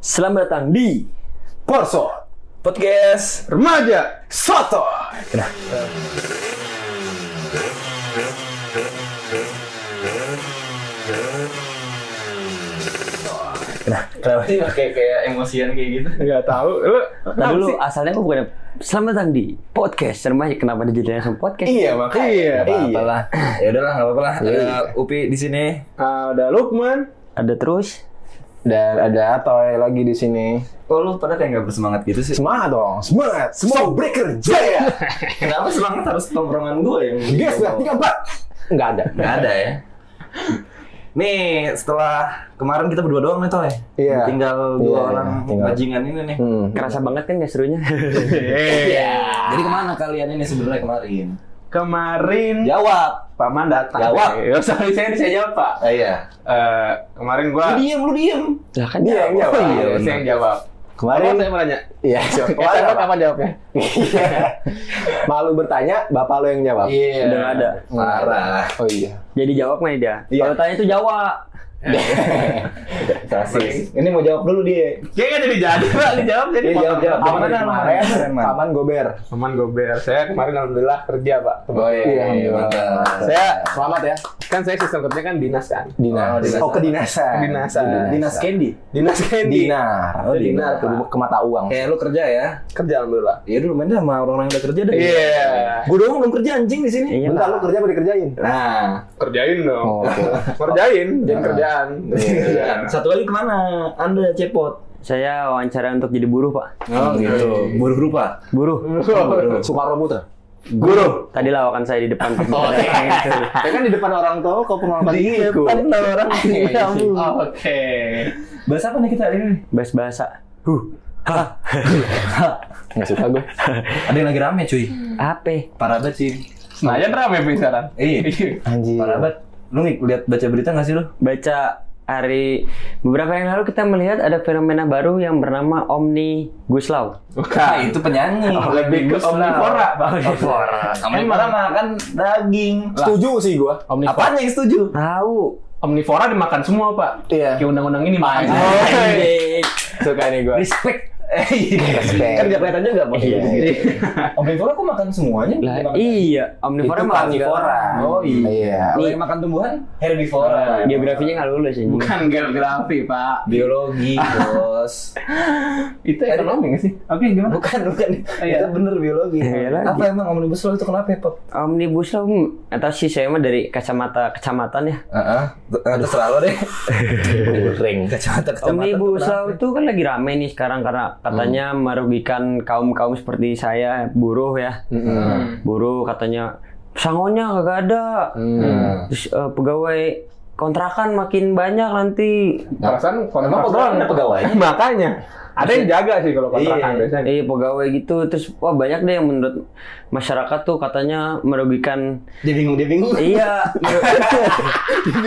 Selamat datang di Korso podcast. Remaja Soto Kenapa? Kenapa? Kenapa? sih pakai Iya, kayak emosian kayak gitu Gak tahu Lu Nah, kenapa dulu sih? asalnya aku bukan selamat datang di podcast remaja. Kenapa dijadikan langsung podcast? Iya. Iya makanya Iya, Gak apa-apa iya. lah ya udahlah nggak apa-apa lah ada Upi di sini Ada Lukman Ada terus. Dan ada Atoy lagi di sini kok lu pada kayak nggak bersemangat gitu sih Semangat dong Semangat Semua breaker jaya kenapa semangat harus tongkrongan gue yang Guys lah tiga empat Gak ada nggak ada ya nih setelah kemarin kita berdua doang nih toy Iya. tinggal dua Iya, iya, orang tinggal. bajingan ini nih Hmm. Kerasa banget kan gak serunya? Iya. jadi kemana kalian ini sebenarnya kemarin Kemarin jawab Pak Man datang Jawab. Ya sorry saya bisa jawab pak ah, iya Eh, Kemarin gua lu diem lu diem lah kan Dia yang jawab. jawab Oh, iya, Saya yang jawab kemarin mau nanya? Iya, Kemarin siap. Kemarin apa? kapan jawabnya? Malu bertanya, bapak lo yang jawab. iya Udah nggak ada. parah Oh iya. Jadi jawab nggak dia? Iya. Kalau tanya itu jawab. rasis ini mau jawab dulu dia Kayaknya jadi jadi, Pak. Dijawab jadi. Iya, potong. jawab, jawab. Aman aja, aman aja. Kemarin, Man. Aman gober. Aman gober. Saya kemarin alhamdulillah kerja, Pak. Oh iya, iya, alhamdulillah. mantap. Saya selamat ya. Kan saya sistem kerja kan dinas kan. Dinas. Oh, dinas. Oh, kedinasan. Kedinasan. Dinas Candy. Dinas Kendi. dinar Oh, dinar. Ke, ke mata uang. kayak lu kerja ya Kerja alhamdulillah. ya dulu main deh sama orang-orang yang udah kerja deh Gue doang belum kerja anjing di sini. Iya, Bentar Pak. lu kerja apa dikerjain? nah kerjain dong Oh, oke. kerjain jangan Nah. kerjaan Kerjaan. satu lagi kemana anda cepot Saya wawancara untuk jadi buruh pak. oh gitu buruk rupa Buruh. Oh, Soekarno Putra. guru Tadi lawakan saya di depan. Gitu. Oh, Ya kan di depan orang tua kok pengalaman Di depan orang iya, tua. oke bahasa apa nih kita hari ini Bahas bahasa. Huh. Hah. Nggak suka gue. ada yang lagi rame cuy Apa? parah banget sih senayan rame pingsaran iya Anjir. parah banget lu nih lihat baca berita nggak sih lu Baca hari beberapa yang lalu kita melihat ada fenomena baru yang bernama Omni Guslaw. Nah, itu penyanyi lebih ke Bagus lah. omnivora pak omnivora omnivora makan daging Setuju sih gue. apanya yang setuju Tahu. omnivora dimakan semua pak Iya. kayak undang-undang ini makan Oh, Anjing. Suka nih gue. Respect. Respect. Eh, kan nggak kelihatan juga mau Iya. omnivora kok makan semuanya Lah, iya, omnivora Itu malah karnivora. nggak- Oh iya. Iya. Kalau yang makan tumbuhan herbivora. Geografinya nggak lulus ini. bukan geografi pak biologi, Bos. itu ekonomi nggak sih oke gimana bukan, bukan. Iya. Itu bener biologi. Iya lagi. Apa emang omnibus law itu kenapa ya, Pop? Omnibus Law hmm, atau sih saya mah dari kacamata kecamatan ya. Heeh. Terserah lo deh. Ring. Kacamata kacamata. Omnibus Law itu kan lagi rame nih sekarang karena katanya merugikan kaum-kaum seperti saya, buruh ya. Hmm. Buruh katanya sangonya kagak ada. Hmm. Nah, Terus eh, pegawai kontrakan makin banyak nanti. perasaan Emang pegawai ada pegawainya? makanya ada yang jaga sih kalau kontrakan Iya. biasanya Eh pegawai gitu terus wah banyak deh yang menurut masyarakat tuh katanya merugikan Dia bingung, dia bingung. iya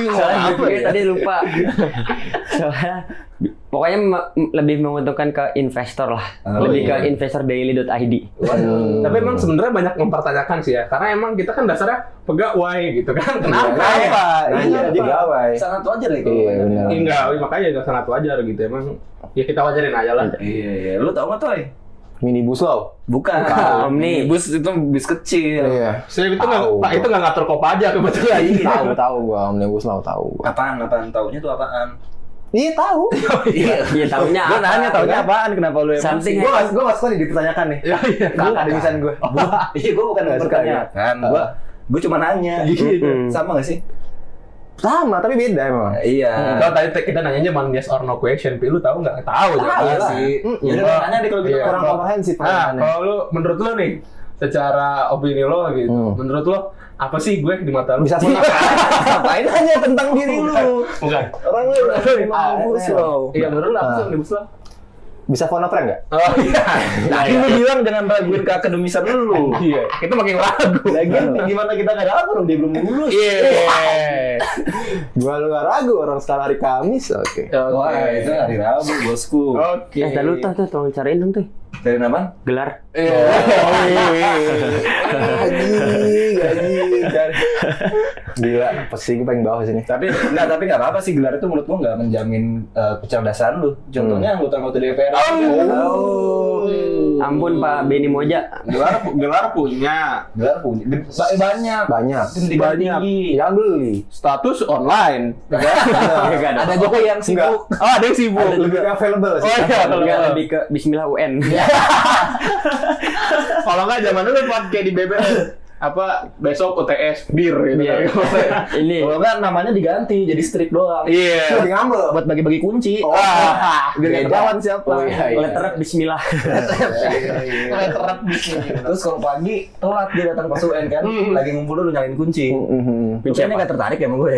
soalnya gue tadi lupa soalnya pokoknya me- lebih menguntungkan ke investor lah Oh, lebih iya. ke investordaily.id Waduh. Tapi emang sebenarnya banyak mempertanyakan sih ya, karena emang kita kan dasarnya pegawai gitu kan. Kenapa? Kenapa? Nah, Iya, jadi gawai. Sangat wajar ya Iya, benar. kalau Enggak, makanya itu sangat wajar gitu emang. Ya kita wajarin aja lah. Iya, iya. Lu tau nggak, Toy? Minibus law. Bukan. Omni. Bus itu bis kecil. Iya. Saya itu nggak, Tahu. Pak itu nggak ngatur kopaja kebetulan. Tahu tahu gue omnibus law tahu. gua. Apaan, apaan? Taunya tuh apaan? Iya tahu. Iya. kan? Iya tahunya Gue nanya taunya apaan? Kenapa lu? Something Gue gak gue gak suka nih dipertanyakan nih. Ya, iya. Ke akademisan gue. Iya, gue bukan Nggak suka, ya. Iya. mempertanyakan. Gue gue cuma nanya. Mm-mm. Sama gak sih? Sama tapi beda emang. Iya. Kalau tadi kita nanyanya cuma yes or no question, Pi, lu tahu nggak? Tahu Iya jawabannya. sih. Mm-mm. Ya udah nanya deh kalau gitu Iya. Kurang Kalau- komprehensif. Nah, pertanyaannya. kalau lu menurut lu nih, secara opini lo gitu, Hmm. menurut lo apa sih gue di mata lu? Bisa sih. Ngapain hanya tentang diri lu? Bukan. Orang lu Ah, omnibus law. Iya, menurut lu apa sih Ah. omnibus law? Bisa phone a friend nggak? Oh iya. Tadi lu bilang jangan raguin ke akademisan lu. Iya, itu makin ragu. Lagian gimana kita nggak ragu orang dia belum lulus? Iya. Gua lu nggak ragu orang sekarang hari Kamis, oke. Wah, Oh, eh, itu hari Rabu, bosku. Oke. eh tadi lu tuh tuh tolong cariin dong tuh Dari naman? gelar Iya. Gaji, gaji, dicari. Gila, posisi gue paling bawah sini. tapi nggak tapi nggak apa-apa sih gelar itu menurut gua nggak menjamin eh, kecerdasan lu. Contohnya anggota-anggota DPR. aja. Oh. Hmm. Ampun Pak Benny Moja. gelar gelar punya Gelar punya Ged- ba- banyak. Banyak. Pendidikan Banyak. tinggi. Jangan beli. status online Enggak Iya kan? Ada juga yang sibuk. oh ada yang sibuk Ada juga available sih. oh iya kalau Enggak nggak lebih ke Bismillah UN. kalau nggak zaman dulu pakai di BBM apa besok UTS bir gitu Iya. Ini Oh, Kalau nggak namanya diganti jadi strip doang. iya Lebih ngambek. Buat bagi-bagi kunci. Oh. Wah. Biar nggak Beda. ketahuan siapa. Oh, iya, iya. letter up Bismillah. Terap di sini. Terus kalau pagi telat dia datang pas UN kan, Hmm. lagi ngumpul dulu nyalain kunci. Hmm. Mhm. Kunci Kunci ini apa? nggak tertarik ya sama gue.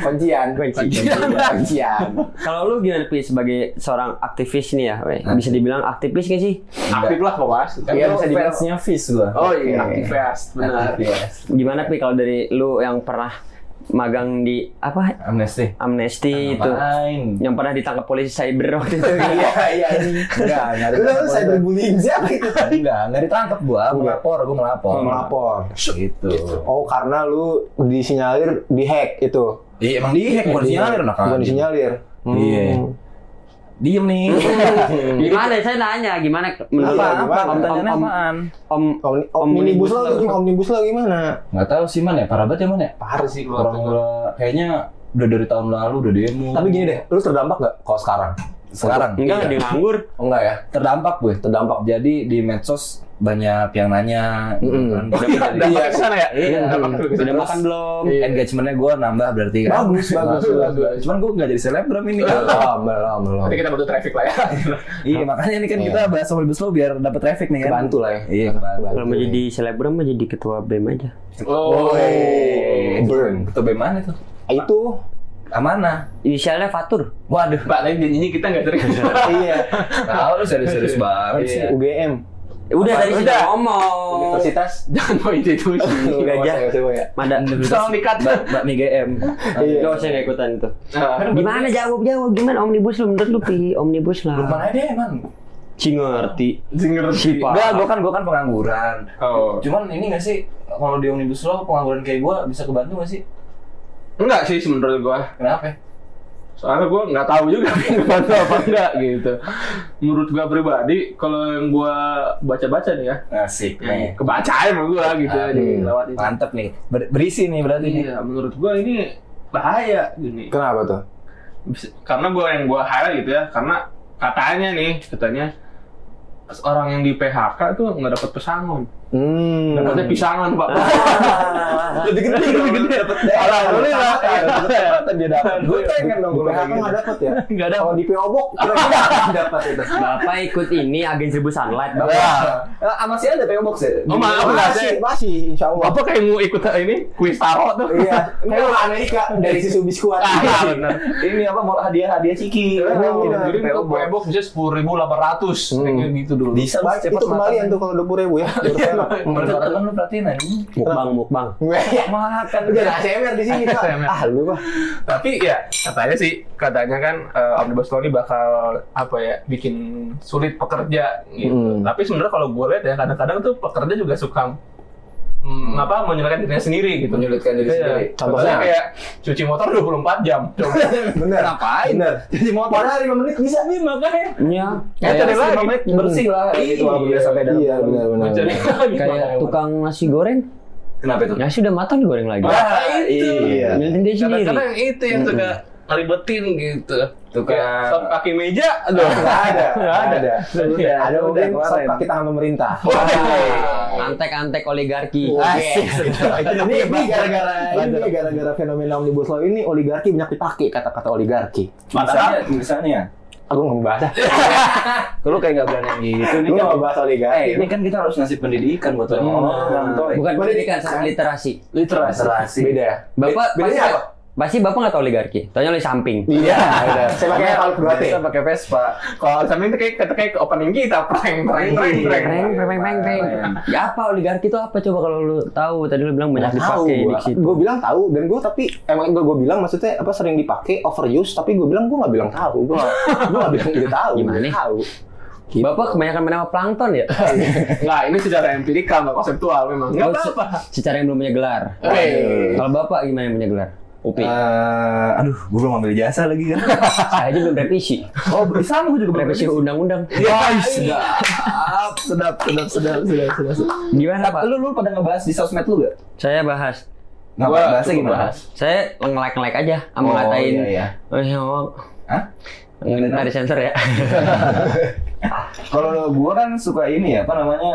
Kuncian. Kuncian. Kuncian. Kalau lu gimana Pi sebagai seorang aktivis nih ya, weh? bisa dibilang aktivis gak sih? aktif lah pokoknya kan Iya, lu bisa dibilang. fans- Fansnya Iya. Fis gue. oh iya aktivis benar Gimana Pi kalau dari lu yang pernah magang di apa Amnesty. amnesti itu? Main. Yang pernah ditangkap polisi cyber waktu itu. Iya iya ini. Enggak, enggak ada. Udah lu cyberbullying siapa itu? Enggak, enggak ditangkap gua, Enggak. melapor, gua melapor. Melapor. Gitu. Oh karena lu disinyalir di hack itu. Iya, emang di hack bukan disinyalir nak. Bukan disinyalir. Iya. Hmm. Diem nih. Gimana? Saya nanya gimana menurut Apa? lu? Apaan? Om, Pertanyaannya om, apaan? om, Om, omnibus law gimana? Omnibus law gimana? Enggak tahu sih man ya, parah banget ya man ya. parah sih gua Orang gua kayaknya udah dari tahun lalu udah demo. Tapi gini deh, lu terdampak nggak kalau sekarang? sekarang enggak Iya. dia nganggur. Oh, enggak ya? Terdampak gue, terdampak. Jadi di medsos banyak yang nanya gitu Mm-mm. Iya, kan. dapat ke sana ya Iya. Dampak ke sana. Udah makan belum? Iya. Engagementnya gue nambah berarti kan. Bagus, bagus, Iya. bagus. Cuman gue nggak jadi selebgram ini. Belum, belum, belum. nanti kita butuh traffic lah ya Iya makanya ini kan Iya. kita bahas omnibus law biar dapat traffic nih kan. Kebantu lah ya. Iya kebantu. Kalau mau jadi selebgram mah jadi ketua BEM aja. oh Woi. Burn. Ketua BEM mana tuh? Ah, Itu Amana. Inisialnya Fatur. Waduh. pak tadi janjinya kita nggak serius iya, Tahu lu serius-serius banget sih. Iya. UGM. Udah Apa? tadi Udah. sudah ngomong. Universitas jangan mau institusi Gajah. Mada. tolong dikat Mbak Mbak MGM. Iya. Gak usah nggak ikutan itu. Nah, Gimana jawab jawab gimana omnibus law menurut lu pi omnibus Belum lah. mana deh emang. Cing ngerti. ngerti Sipa. Enggak, gua kan gua kan pengangguran. oh Cuman ini nggak sih kalau di omnibus law pengangguran kayak gua bisa kebantu nggak sih? enggak sih menurut gua Kenapa? ya? soalnya gue nggak tahu juga ngebantu apa enggak gitu menurut gue pribadi kalau yang gue baca-baca nih ya Asik Iya. nih. kebaca aja sama gue gitu Ah, aja hmm. lewat itu Mantep nih. Ber- berisi nih berarti nih. iya menurut gue ini bahaya gini Kenapa tuh? Bisa- karena gue yang gue highlight gitu ya karena katanya nih katanya orang yang di PHK tuh nggak dapat pesangon Hmm. dapatnya pisangan pak Lebih gede, lebih gede. Iya. Alhamdulillah. dia dapat. Gue pengen dong, gue PHK nggak dapet ya? nggak ada Kalau di Piobok, kira-kira dapat itu. Bapak ikut ini agen seribu sunlight bapak. Ah, masih ada PO Box ya? Oh, maaf, nggak masih, sih. masih, insya Allah. apa kayak mau ikut ini kuis tarot tuh Iya, kayak orang Amerika dari sisi biskuat. iya, ah benar ini apa mau hadiah hadiah ciki Oh, Iya, jadi jadi PO untuk Box. box bisa sepuluh ribu delapan ratus kayak gitu dulu. bisa Baik, itu kembalian tuh kalau dua puluh ribu ya. Berarti kan lu perhatiin anjing. Mukbang mukbang. Gue ya, makan udah ada ACMR di sini. Kak. ACMR. Ah, lu mah. Tapi ya katanya sih katanya kan eh, omnibus law ini bakal apa ya bikin sulit pekerja gitu. Hmm. Tapi sebenarnya kalau gue lihat ya kadang-kadang tuh pekerja juga suka mm, apa menyulitkan dirinya sendiri gitu. Menyulitkan diri Iya. sendiri. Contohnya Contohnya? kayak cuci motor 24 jam. Coba. Bener. Ngapain? Bener. cuci motor Padahal lima menit bisa. nih makanya. Ya. Kayak Kayak tadi lima lagi. menit bersih lah kayak gitu walaupun Iya. dia sampai dalam. Iya, benar, benar. Mencari benar. lagi Kayak makanya. Tukang nasi goreng. Kenapa itu? Nasi udah matang digoreng lagi. Wah, Ah, Nah, itu. Iya. Ngeliatin dia sendiri. Kadang-kadang itu yang suka ngeribetin gitu. Tukang- Kayak stop kaki meja, aduh. Nggak ada, Nggak nggak ada. Iya. Ada Oh, Udah, mungkin kemarin. stok kaki tangan pemerintah. Ah, Antek-antek oligarki. Iya. Asik. ini ini iya, gara-gara ini gara-gara fenomena omnibus law ini oligarki banyak dipakai kata-kata oligarki. Misalnya, misalnya, Aku nggak membahas. ah. lu kayak nggak berani gitu. Ini Lu kan, nggak bahas oligarki. eh, ini kan kita harus ngasih pendidikan buat orang-orang. Toy. Bukan pendidikan, sama literasi. Iya. literasi. Beda ya. Bapak bedanya pasti- apa? Pasti bapak nggak tahu oligarki. Tanya oleh samping. Iya. beda. Saya pakai Makanya kalau kalau berarti. biasa pakai Vespa. Kalau sambil itu kayak kata kayak ke opening kita prank prank prank prank. Peng, peng, peng, peng, peng. Iya. Ya apa oligarki itu apa coba kalau lu tahu? Tadi lu bilang banyak dipakai di situ. Gue bilang tahu dan gue tapi emang gue gue bilang maksudnya apa sering dipakai overuse tapi gue bilang gue nggak bilang tahu gue gue nggak bilang gue tahu Gimana? Gak tahu Gitu. Bapak kebanyakan main sama plankton ya? Nggak, ini secara empirikal, nggak konseptual memang. Nggak Oh, se- apa-apa. Secara yang belum punya gelar. Wey. Kalau bapak gimana yang punya gelar? Upi. Eh, aduh, gue belum ambil jasa lagi kan. Saya aja belum revisi. oh, sama gue juga belum Revisi undang-undang. Wah, sedap, sedap, sedap, sedap, sedap, sedap, sedap. Gimana Tapi pak? lu, lu pada ngebahas di sosmed lu gak? Saya bahas. Nggak Gua bahasnya cukup gimana? Oh, bahas. Saya ngelek-ngelek aja. Sama ngatain. iya, iya. Oh, iya, Om. Hah? Ini tadi sensor ya. Kalau gua kan suka ini ya, apa namanya?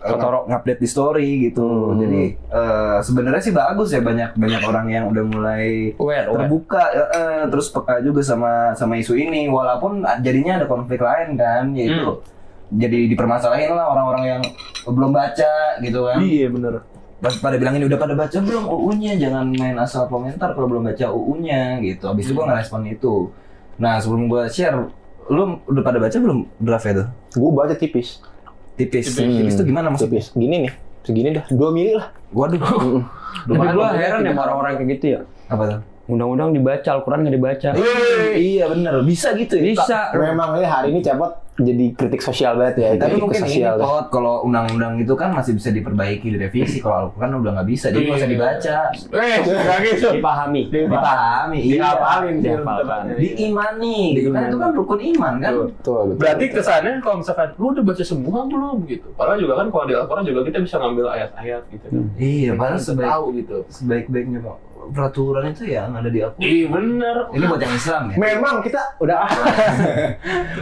Kotorok. ngupdate di story gitu. Hmm. Jadi eh, sebenarnya sih bagus ya banyak banyak orang yang udah mulai Aware, aware. terbuka eh, eh, terus peka juga sama sama isu ini walaupun jadinya ada konflik lain kan yaitu Hmm. jadi dipermasalahin lah orang-orang yang belum baca gitu kan. Iya bener. Pas pada bilangin udah pada baca belum UU-nya jangan main asal komentar kalau belum baca UU-nya gitu. Habis itu gua ngerespon itu. Nah, sebelum gua share lu udah pada baca belum draftnya tuh? Gue baca tipis, tipis. Tipis, tuh gimana maksudnya? tipis. Gini nih, segini dah, dua mili lah. Waduh. Tapi Lumayan gue loh, heran ya tipis. sama orang-orang kayak gitu ya. Apa tuh? Undang-undang dibaca, Al-Quran nggak dibaca. Iya bener, bisa gitu ya. Kak. Bisa. Memang ini hari ini cepet jadi kritik sosial banget ya. Tapi kritik mungkin ini sosial dah. Tot, kalau undang-undang itu kan masih bisa diperbaiki, direvisi. Kalau Al-Quran udah nggak bisa, jadi nggak usah Iya. dibaca. Eh, nggak gitu. Dipahami. Dipahami, iya. Dihafalin. sih, Dihafalkan. teman. Di- Diimani, gitu kan itu kan rukun iman kan. Betul. Betul, betul. Berarti kesannya kalau misalkan lu udah baca semua belum gitu. Padahal juga kan kalau di Al-Quran juga kita bisa ngambil ayat-ayat gitu. kan. Iya, padahal Kita sebaik tahu gitu. sebaik-baiknya Pak. peraturan itu ya yang ada di Al-Quran. Iya bener. Ini buat yang Islam ya. Memang kita udah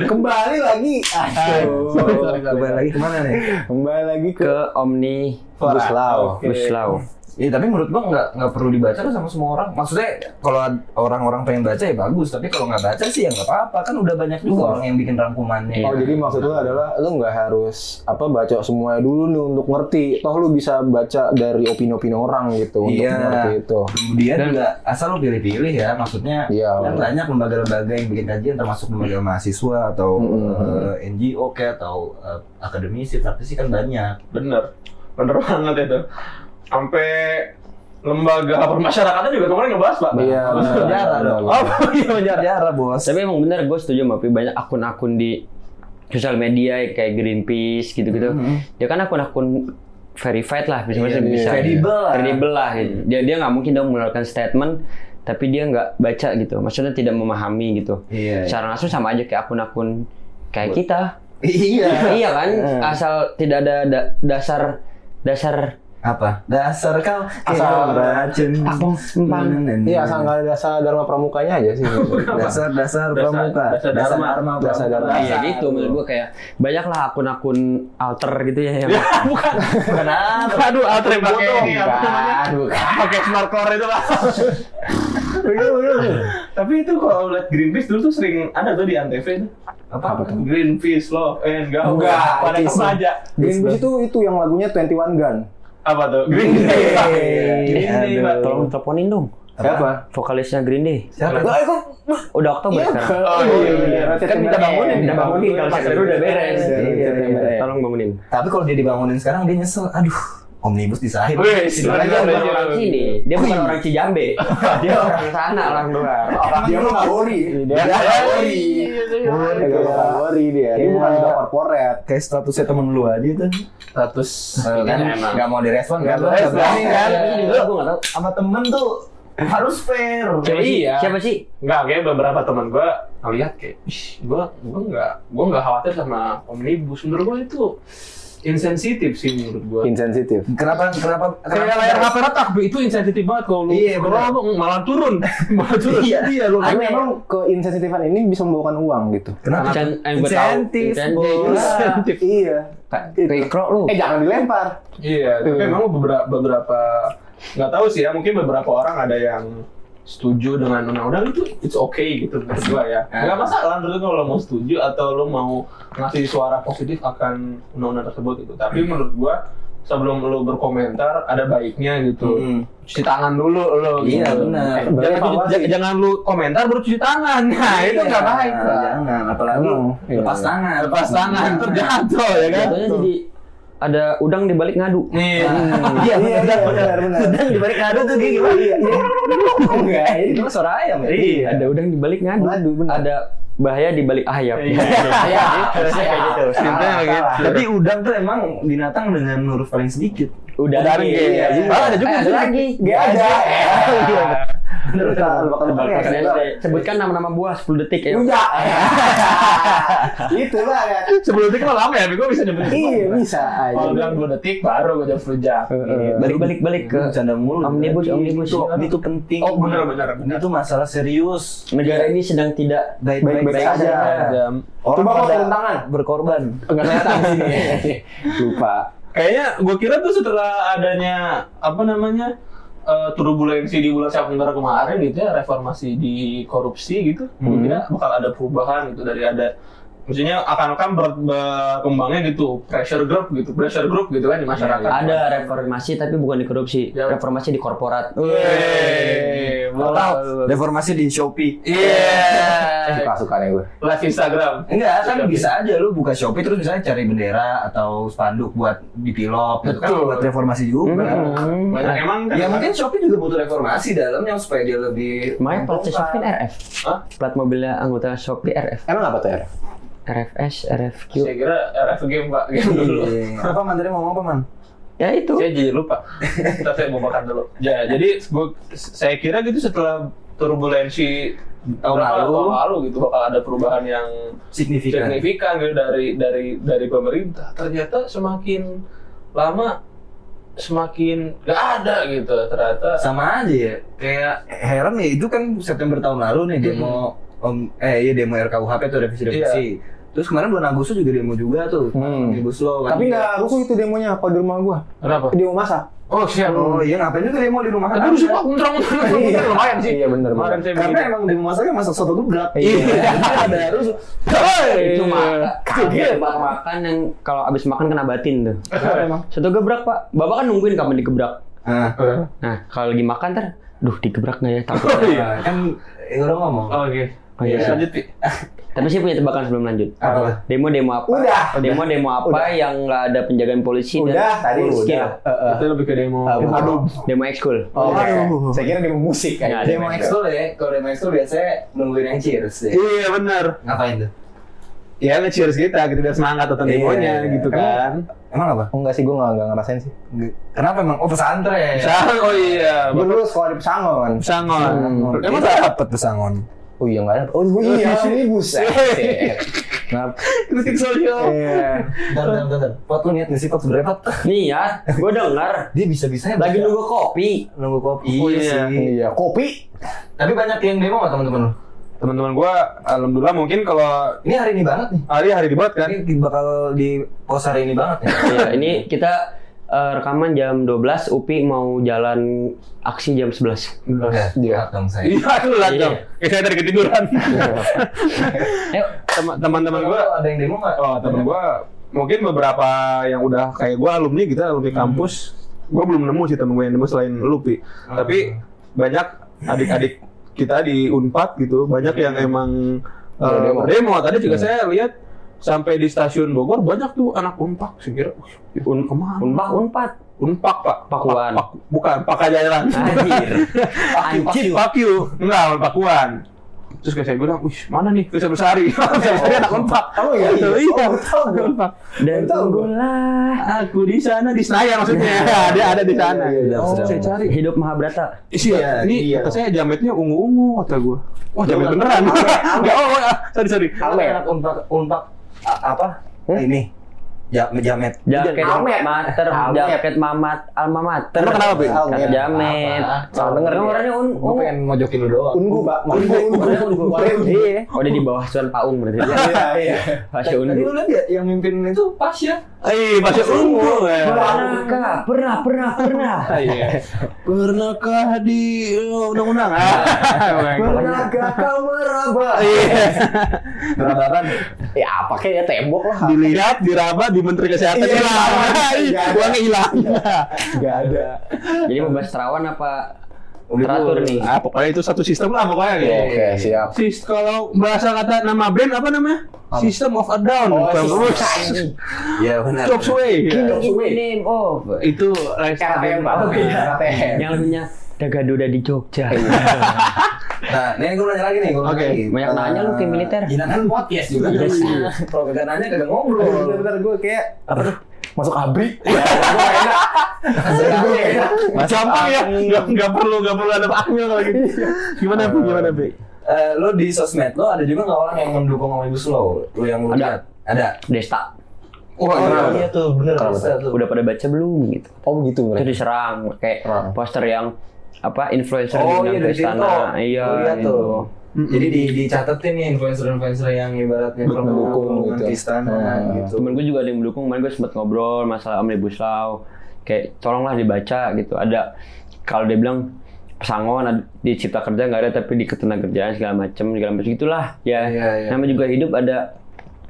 kembali lagi. Aduh. Sorry, sorry, sorry. Kembali lagi kemana nih? Kembali lagi ke Ke Omni Guslau. Guslau. Iya tapi menurut gua nggak nggak perlu dibaca lah sama semua orang. Maksudnya kalau ad- orang-orang pengen baca ya bagus, tapi kalau nggak baca sih ya nggak apa-apa. Kan udah banyak juga orang yang bikin rangkumannya. Oh jadi maksud lu adalah lu nggak harus apa baca semuanya dulu nih untuk ngerti. Toh lu bisa baca dari opini-opini orang gitu untuk Iya. ngerti itu. Kemudian juga asal lo pilih-pilih ya, maksudnya Iya. kan banyak lembaga-lembaga yang bikin kajian termasuk lembaga mahasiswa atau Mm-mm. eh, NGO kayak atau eh, akademisi, tapi sih kan banyak. Bener. Bener banget itu. Sampai lembaga permasyarakatan juga kemarin ngebahas pak. Iya. Masuk benar, penjara benar, dong. benar. Apa iya penjara? Penjara bos. Tapi emang bener gue setuju sama Pi. banyak akun-akun di sosial media kayak Greenpeace gitu-gitu. Hmm. Ya kan akun-akun verified lah bisa Iya, bisa iya. bisa. Credible lah. Credible lah. gitu. Dia dia nggak mungkin dong mengeluarkan statement tapi dia nggak baca gitu. Maksudnya tidak memahami gitu. Iya. Secara langsung sama aja kayak akun-akun kayak kita. Iya. iya kan? Asal tidak ada da- dasar dasar Apa? Dasar kau kira Asal racun. takong sempang. Iya, asal nggak ada dasar dharma pramukanya aja sih. Dasar dasar pramuka. dasar dharma. Dasar Dasar dharma. dharma. Iya gitu menurut gue kayak banyaklah akun-akun alter gitu ya yang Iya. Bukan. Kenapa? Aduh, alter yang Pakai bodoh. ini, Apa namanya? Pakai snorkelor itu pak. Tapi itu kalau lihat Greenpeace dulu tuh sering ada tuh di Antv itu. Apa? Greenpeace love and go. Enggak, pada itu sih. aja. Greenpeace itu itu yang lagunya 21 Gun. Apa tuh? Green Day. Pak. Green Day, Aduh. Pak. tolong teleponin dong Siapa? vokalisnya Green Day. Siapa? Lah itu Udah Oktober sekarang. Oh, iya, iya. Kan minta bangunin, Udah bangunin kalau Pas sekarang itu udah udah beres. beres. Iya, iya, iya. Tolong bangunin. Tapi kalau dia dibangunin sekarang dia nyesel. Aduh, omnibus disahid. Karena Wih, sebenarnya dia udah bukan orang sini, dia bukan orang Cijambe. Dia orang sana, orang luar. Dia mah kabori. Iya, Dia Kayak- kabori dia. Dia Iya. bukan juga korporat. Kayak statusnya temen lu aja tuh. Status Eh, kan emang. nggak mau direspon Nggak kan? Lu nggak direspon. berani kan? Iya, Tapi Lu juga gua nggak tahu. sama temen tuh harus fair. Siapa sih? Iya. Siapa sih? Enggak, kayak beberapa teman gua ngeliat kayak, ih, gua gua enggak gua enggak khawatir sama omnibus. Menurut gua itu insensitif sih menurut gua. Insensitif. Kenapa? Kenapa? Kayak kenapa- layar HP retak, Bi. itu insensitif banget kalau lu Iya, kalau benar. lu malah turun, malah turun. Iya. iya lu. Tapi emang keinsensitifan ini bisa membawakan uang gitu. Kenapa? Incen- eh, gua tahu. Insentif, Insentif. bos. Insentif. Iya. Itu. Rikro lu. Eh jangan dilempar. Iya, tapi Iya. emang beberapa beberapa nggak tahu sih ya, mungkin beberapa orang ada yang setuju dengan undang-undang itu it's okay gitu menurut gua ya. Enggak masalah menurut gua kalau mau setuju atau lo mau ngasih suara positif akan undang-undang tersebut gitu. Tapi menurut gua sebelum lo berkomentar ada baiknya gitu. Mm. Cuci tangan dulu lo. Iya, gitu. Eh, Jangan, benar. cuci- Berevaluasi. j- jangan lu komentar baru cuci tangan. Nah, itu nggak Iya, baik. Pak. Jangan, apalagi ya, Emang, iya. lepas tangan. Lepas tangan terjatuh ya kan. Jatuhnya jadi ada udang di balik ngadu. Nah, Nih, Hmm. Iya, iya, benar, benar. Udang di balik ngadu tuh kayak gimana? Enggak, ini cuma suara ayam ya. Iya, ada udang di balik ngadu. Ngadu, benar. Ada bahaya di balik ayam. Iya. Iya, harusnya kayak gitu. Simpelnya Salah, begitu. salah. Tapi udang tuh emang binatang dengan huruf paling sedikit. Udah Udang, lagi. iya. Ah, ada juga Eh, ada ada lagi. Iya. Gak ada. Terus Terus kalau bakal Tebak bakal- keren deh. Sebutkan nama-nama buah 10 detik ya. Udah. Gitu, Itu lah ya. sebelum detik mah lama ya, gue bisa nyebutin. semua. Iya, bisa aja. Kalau bilang 2 detik baru gue jawab rujak. Iya, Balik balik balik ke canda mulu. Omnibus, Ini omnibus. tuh- Ini tuh penting. Oh, bener, bener, Ini bener. tuh masalah serius. negara ini sedang tidak Baik-baik Baik-baik saja. saja. Orang Coba kau pada turun tangan. berkorban. Enggak kelihatan sini. Lupa. Kayaknya gue kira tuh setelah adanya apa namanya eh, turbulensi di bulan September kemarin gitu ya reformasi di korupsi gitu, Gua kira bakal ada perubahan gitu dari ada maksudnya akan akan ber- berkembangnya gitu pressure group gitu pressure group gitu kan di masyarakat. ada reformasi Iya. tapi bukan di korupsi. Ya. Reformasi di korporat. Yeay, mantap. Reformasi di Shopee. Eh, Iya. Suka-suka nih gue. Live Instagram. Enggak, kan Shopee. bisa aja lu buka Shopee terus misalnya cari bendera atau spanduk buat dipilop gitu kan Betul. buat reformasi juga. Hmm. Banyak emang kan- Ya mungkin Shopee juga butuh reformasi dalamnya supaya dia lebih Makanya platnya menguntungkan. Shopee RF. Hah? Plat mobilnya anggota Shopee RF. Emang apa tuh, Er? RFS, RFQ. Saya kira RF game pak game dulu. Iya. Apa man tadi ngomong apa man? Ya itu. Saya jadi lupa. Ntar saya mau makan dulu. Ya, jadi gua- saya kira gitu setelah turbulensi Tahun berapa lalu. tahun lalu gitu bakal ada perubahan yang Signifikan. signifikan gitu dari dari dari pemerintah. Ternyata semakin lama semakin gak ada gitu ternyata. Sama aja ya. Kayak heran ya itu kan September tahun lalu nih demo om, eh iya demo RKUHP tuh revisi-revisi. Terus kemarin bulan Agustus juga demo juga tuh. Hmm. Omnibus Law kan. Tapi nggak rusuh itu demonya kalau di rumah gua. Kenapa? Demo masa. Oh siap. Oh iya ngapain juga demo di rumah Tapi kan? harus pak kuntrang kuntrang kuntrang lumayan sih. Iya, bener, bener. Kemarin saya Karena begini. emang demo masaknya masak soto tuh berat. Iya. Jadi ada rusuh. itu makan. Kaget. makan yang kalau abis makan kena batin tuh. Kenapa emang? Satu gebrak pak. Bapak kan nungguin kapan digebrak. Nah, Nah kalau lagi makan ter, duh digebrak nggak ya takut. Oh iya. kan ya udah ngomong. Oke. Oh, iya. Lanjut Pi. Tapi saya punya tebakan sebelum lanjut. Apa tuh? Demo demo apa? Udah. Demo demo apa Udah. yang nggak ada penjagaan polisi Udah, dan tadi korupsi udah. lah. Heeh. Itu lebih ke demo. Ah, bukan. Demo ekskul. Oh, oke. Saya kira demo musik Nggak kayaknya. ada. Demo ekskul ya, kalau demo ekskul biasanya nungguin yang cheers ya. Iya benar. Ngapain tuh? ya nge-cheers kita gitu biar semangat tentang Iya, demonya iya. gitu kan Emang apa? Oh, enggak sih, gue nggak nggak ngerasain sih. Kenapa emang? Oh pesantren. Sangon, oh iya Gue dulu sekolah di Pesangon. Sangon Pesangon. Emang Emang tak- dapat pesangon. Iya. Oh iya nggak ada. Oh iya, Nah, omnibus. Maaf. kritik sosial Iya. Bentar, bentar, bentar. Pot lu niat nggak sih pot sebenarnya pot? Nih ya, gue dengar Dia bisa bisa lagi nunggu kopi. nunggu kopi. Oh, iya. Iya, kopi. Tapi banyak yang demo nggak teman-teman lu? teman-teman gua alhamdulillah mungkin kalau Ini hari ini banget nih. hari hari dibuat kan Ini bakal di pos hari ini banget ya. nih. Iya, ini kita eh, rekaman jam 12, Upi mau jalan aksi jam 11. Iya. dong saya. iya aku lihat Iya. dong Eh, saya dari ketiduran Iya. Ayo. Tem- teman-teman gua Kalau ada yang demo nggak? oh teman gua mungkin beberapa yang udah kayak gua alumni gitu alumni Hmm. kampus gua belum nemu sih temen gue yang nemu selain lu Pi. tapi banyak adik-adik kita di Unpad gitu banyak yang emang eh, Berdemo. berdemo tadi Iya. juga saya lihat sampai di stasiun Bogor banyak tuh anak Unpak sih kira "Wih, Un kemana Unpak, unpat. Unpak pak Pakuan. Pak- Pak- bukan pakai jalan Ah, Anjir. Anjir. Pakyu enggak Pakuan terus kayak saya bilang wih mana nih Firza Bersari Firza Bersari anak Unpak Oh iya. Iya, iya. Oh, tahu gua. Unpak. Dan Betul. tunggulah aku di sana di Senayan maksudnya ada ada di sana Iya, iya, iya. oh Sedang. saya cari hidup Mahabrata. Isi Iya, ya, ini iya. kata saya jametnya ungu-ungu kata gua. Wah, Iya. jamet beneran. Enggak, oh, oh, ah, sorry, sorry. Ame. Anak unpak unpak a- apa? Hmm? Ini. Ja, jamet. Jaket Amet. mater, Amet. jaket mamat, alma mater. Emang kenapa, Bi? Kata Amet. jamet. Apa? Salah denger Ini dia. warnanya un, Gue ungu. pengen mojokin lu doang. Oh. Ungu, Pak. Ungu, ungu. Warnanya ungu. Warnanya ungu. Iya. Oh, dia di bawah suan paung berarti. Iya, iya. Fasya Tadi ungu. lu lihat ya yang mimpin itu pas ya. Eh, masih ungu. ya. Pernahkah? Pernah, pernah, pernah. Iya. Pernahkah di eh, undang-undang? Nah, Ah, Pernah gak kau meraba? Iya. Berataran. Ya apa kayak ya tembok lah. Dilihat, diraba, di Menteri Kesehatan Iya, hilang. iya. Uangnya hilang. Gak ada. Jadi membahas terawan apa teratur nih. Ah, pokoknya itu satu sistem lah pokoknya gitu. Oke, siap. Sis, kalau bahasa kata nama band apa namanya? System of a Down. Iya. Oh, Bang System Rus. Iya benar. Chop Suey. ya. Ini oh Itu lifestyle band banget. Iya. yang lagunya Dagadu udah di Jogja. Nah, ini gue nanya lagi nih, gue Oke, banyak nanya lu kayak militer. Iya Gila kan podcast juga guys. Kalau kagak nanya kagak ngobrol. Bentar-bentar gue kayak apa tuh? Masuk abri. Nah, Gampang ya, nggak nggak perlu nggak perlu ada akmil kalau gitu. Gimana bu? Gimana bu? Eh, lo di sosmed lo ada juga nggak orang yang mendukung Omnibus Law? Lo yang lo Ada. lihat? Ada. Desta Wah, iya tuh bener. udah pada baca belum gitu. Oh begitu Itu mereka. diserang kayak Serang. poster yang apa influencer Oh iya yang dari situ. Iya. Gua lihat itu. tuh. Jadi di, dicatetin nih influencer-influencer yang ibaratnya Mendukung gitu. anti istana Hmm. Nah, gitu. Temen gue juga ada yang mendukung, kemarin gue sempet ngobrol masalah Omnibus Law. Kayak tolonglah dibaca gitu. Ada kalau dia bilang pesangon ada- di cipta kerja nggak ada tapi di ketenagakerjaan segala macem segala macam gitulah ya Iya, iya. namanya juga hidup ada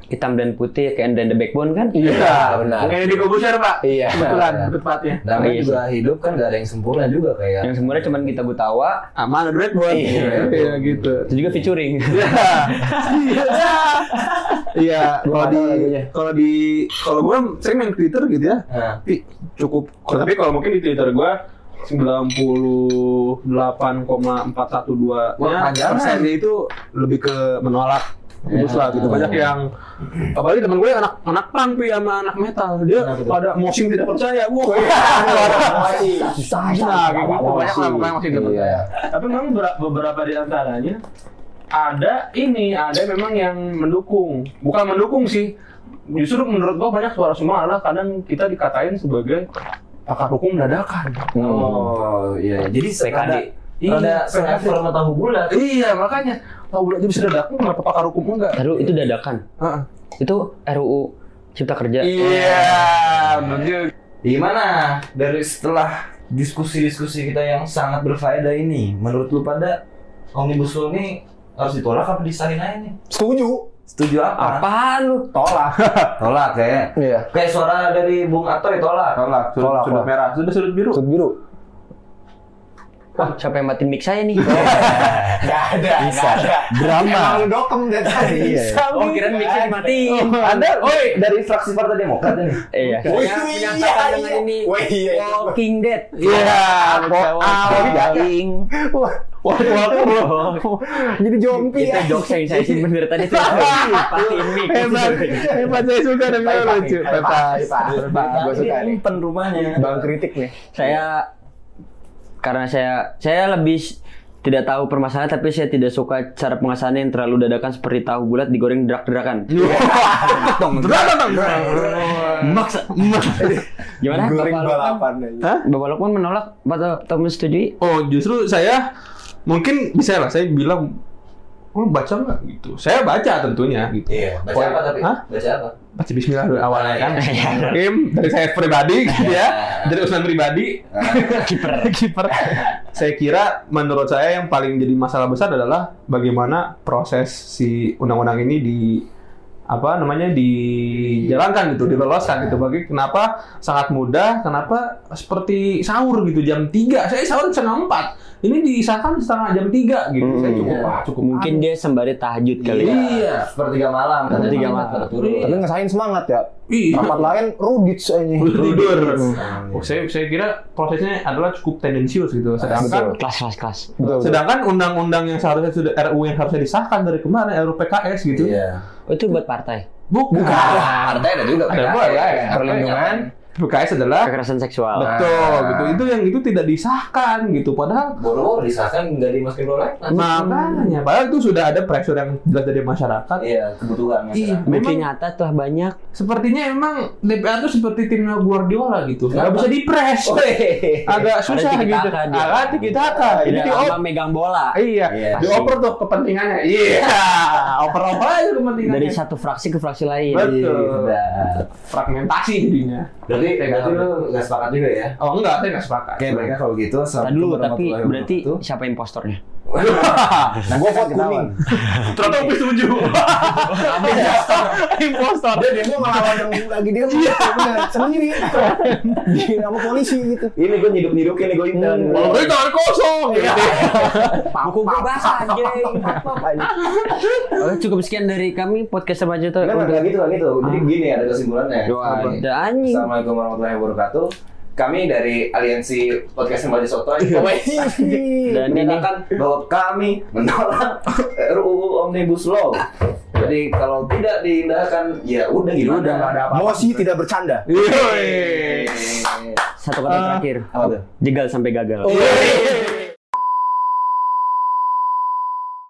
hitam dan putih kayak dan the backbone kan Iya, benar. Kayak di Kobuser pak. Iya. Kebetulan tepatnya. Namanya Oh, iya juga hidup kan gak ada yang sempurna juga kayak. yang sebenarnya cuman kita ketawa Aman ada duit buat. Iya gitu. itu juga featuring Iya. Iya. Kalau di kalau di kalau gue sering main Twitter gitu ya. Nah, Tapi cukup. Tapi kalau mungkin di Twitter gue 98,412 Wah, nya panjangan. persennya itu lebih ke menolak Terus lah gitu banyak yang apalagi teman gue anak anak punk pi sama anak metal dia Kenapa tuh? pada moshing tidak percaya wah nah kayak gitu banyak lah pokoknya moshing tidak percaya Iya. tapi memang bera- beberapa di antaranya ada ini, ada memang yang mendukung. Bukan mendukung sih. Justru menurut gua banyak suara semua malah kadang kita dikatain sebagai pakar hukum dadakan. Oh iya, jadi PKD. sekada Iya, PKD. sekada sama tahu bulat. Iya, makanya tahu bulat dia bisa dadakan kenapa pakar hukum enggak? Aduh, itu dadakan Heeh. itu RUU Cipta Kerja Iya, bener juga. Gimana dari setelah diskusi-diskusi kita yang sangat berfaedah ini, menurut lu pada Omnibus Law ini harus ditolak apa disahin aja nih? Setuju. Setuju apa? apaan lu Tolak. Tolak ya. Iya. Kayak suara dari Bung Atoy tolak. Tolak, sudut, Tolak, sudut tolak. merah, sudut sudut biru. Sud biru. Wah, siapa yang matiin mic saya nih Iya, Gak ada. Bisa. Drama. Emang dokem dari tadi. Iya. oh kira mixnya dimatiin Anda woi dari fraksi Partai Demokrat ini. iya Wih, saya menyatakan iya, dengan iya. ini Wih, iya, iya. Walking Dead Iya, Tapi garing. Wah, Wah, wah, jadi jompi itu jokes yang saya izin bener tadi tuh matiin mic Hebat, hebat saya suka dan Iya, lucu. Bebas. Bebas. Gue suka nih. Impen rumahnya. Bang kritik nih. saya karena saya saya lebih s- tidak tahu permasalahan tapi saya tidak suka cara pengasahannya yang terlalu dadakan seperti tahu bulat digoreng derak-derakan. Maksa. Gimana? Bapak Goreng Lukman, balapan aja. Bapak Lukman menolak atau, atau menyetujui? Oh justru saya mungkin bisa lah saya bilang lu baca nggak gitu saya baca tentunya gitu Iya, baca apa tapi? Hah? Baca apa? baca Bismillah dulu awalnya kan Iya. Kim dari saya pribadi gitu ya dari usulan pribadi Kiper. kiper saya kira menurut saya yang paling jadi masalah besar adalah bagaimana proses si undang-undang ini di apa namanya dijalankan gitu diloloskan gitu bagi kenapa sangat mudah kenapa seperti sahur gitu jam 3 saya sahur setengah 4 ini disahkan setengah jam 3 gitu saya cukup Iya. wah cukup Mungkin dia sembari tahajud kali. ya. Iya, sepertiga malam. Sepertiga malam. Tapi ngesain semangat ya. Iya. Rapat lain Rudits aja. tidur Hmm. oh, saya saya kira prosesnya adalah cukup tendensius gitu sedangkan Kelas kelas kelas. Betul, betul. Sedangkan undang-undang yang seharusnya sudah RUU yang harusnya disahkan dari kemarin RUU PKS gitu. Iya. Oh, itu buat partai. Bu- Ah, Bukan. Partai ada juga. Ada PKS. gua, ya. Perlindungan. PKS adalah Kekerasan seksual. betul gitu. Itu yang itu tidak disahkan gitu. Padahal Boro-boro disahkan nggak dimasukin prolegnas. makanya padahal itu sudah ada pressure yang jelas dari masyarakat. Iya, kebutuhan Iya, masyarakat. Bukti memang nyata telah banyak. sepertinya emang DPR itu seperti timnya Guardiola gitu. Nggak Kenapa? bisa dipres. Agak susah Ada gitu. tiki-taka dia. Agak kita akan. Jadi Tidak di lama megang bola. Iya, Iya. dioper tuh kepentingannya. Iya, oper-oper aja kepentingannya. Dari satu fraksi ke fraksi Iya, lain. iya. Betul. Nah, Fragmentasi jadinya. Berarti berarti lu nggak sepakat juga ya? Oh enggak, saya nggak sepakat. Oke, baiklah kalau gitu. Tadi Assalamualaikum dulu tapi warahmatullahi berarti wabarakatuh. siapa impostornya? Nah, gue vote kuning. Ternyata Upi setuju. Impostor. Dia demo ngelawan yang lagi dia Iya. sendiri. Di nama polisi gitu. Ini gue nyiduk-nyidukin nih gue intel. Kalau gue tangan kosong. gitu. Buku gue basah anjing. Oke, cukup sekian dari kami podcast remaja itu. Enggak, enggak gitu, enggak gitu. Jadi gini ada kesimpulannya. Doa. Udah anjing. Assalamualaikum warahmatullahi wabarakah. Kami dari Aliansi Podcast Remaja Sotoy Dan ini menyatakan bahwa kami menolak RUU Omnibus Law. Jadi kalau tidak diindahkan, ya udah gimana? Udah nggak ada apa-apa. Mosi gitu. tidak bercanda. Yoi. satu kata terakhir. Apa tuh? Iya. Jegal sampai gagal. Yeay.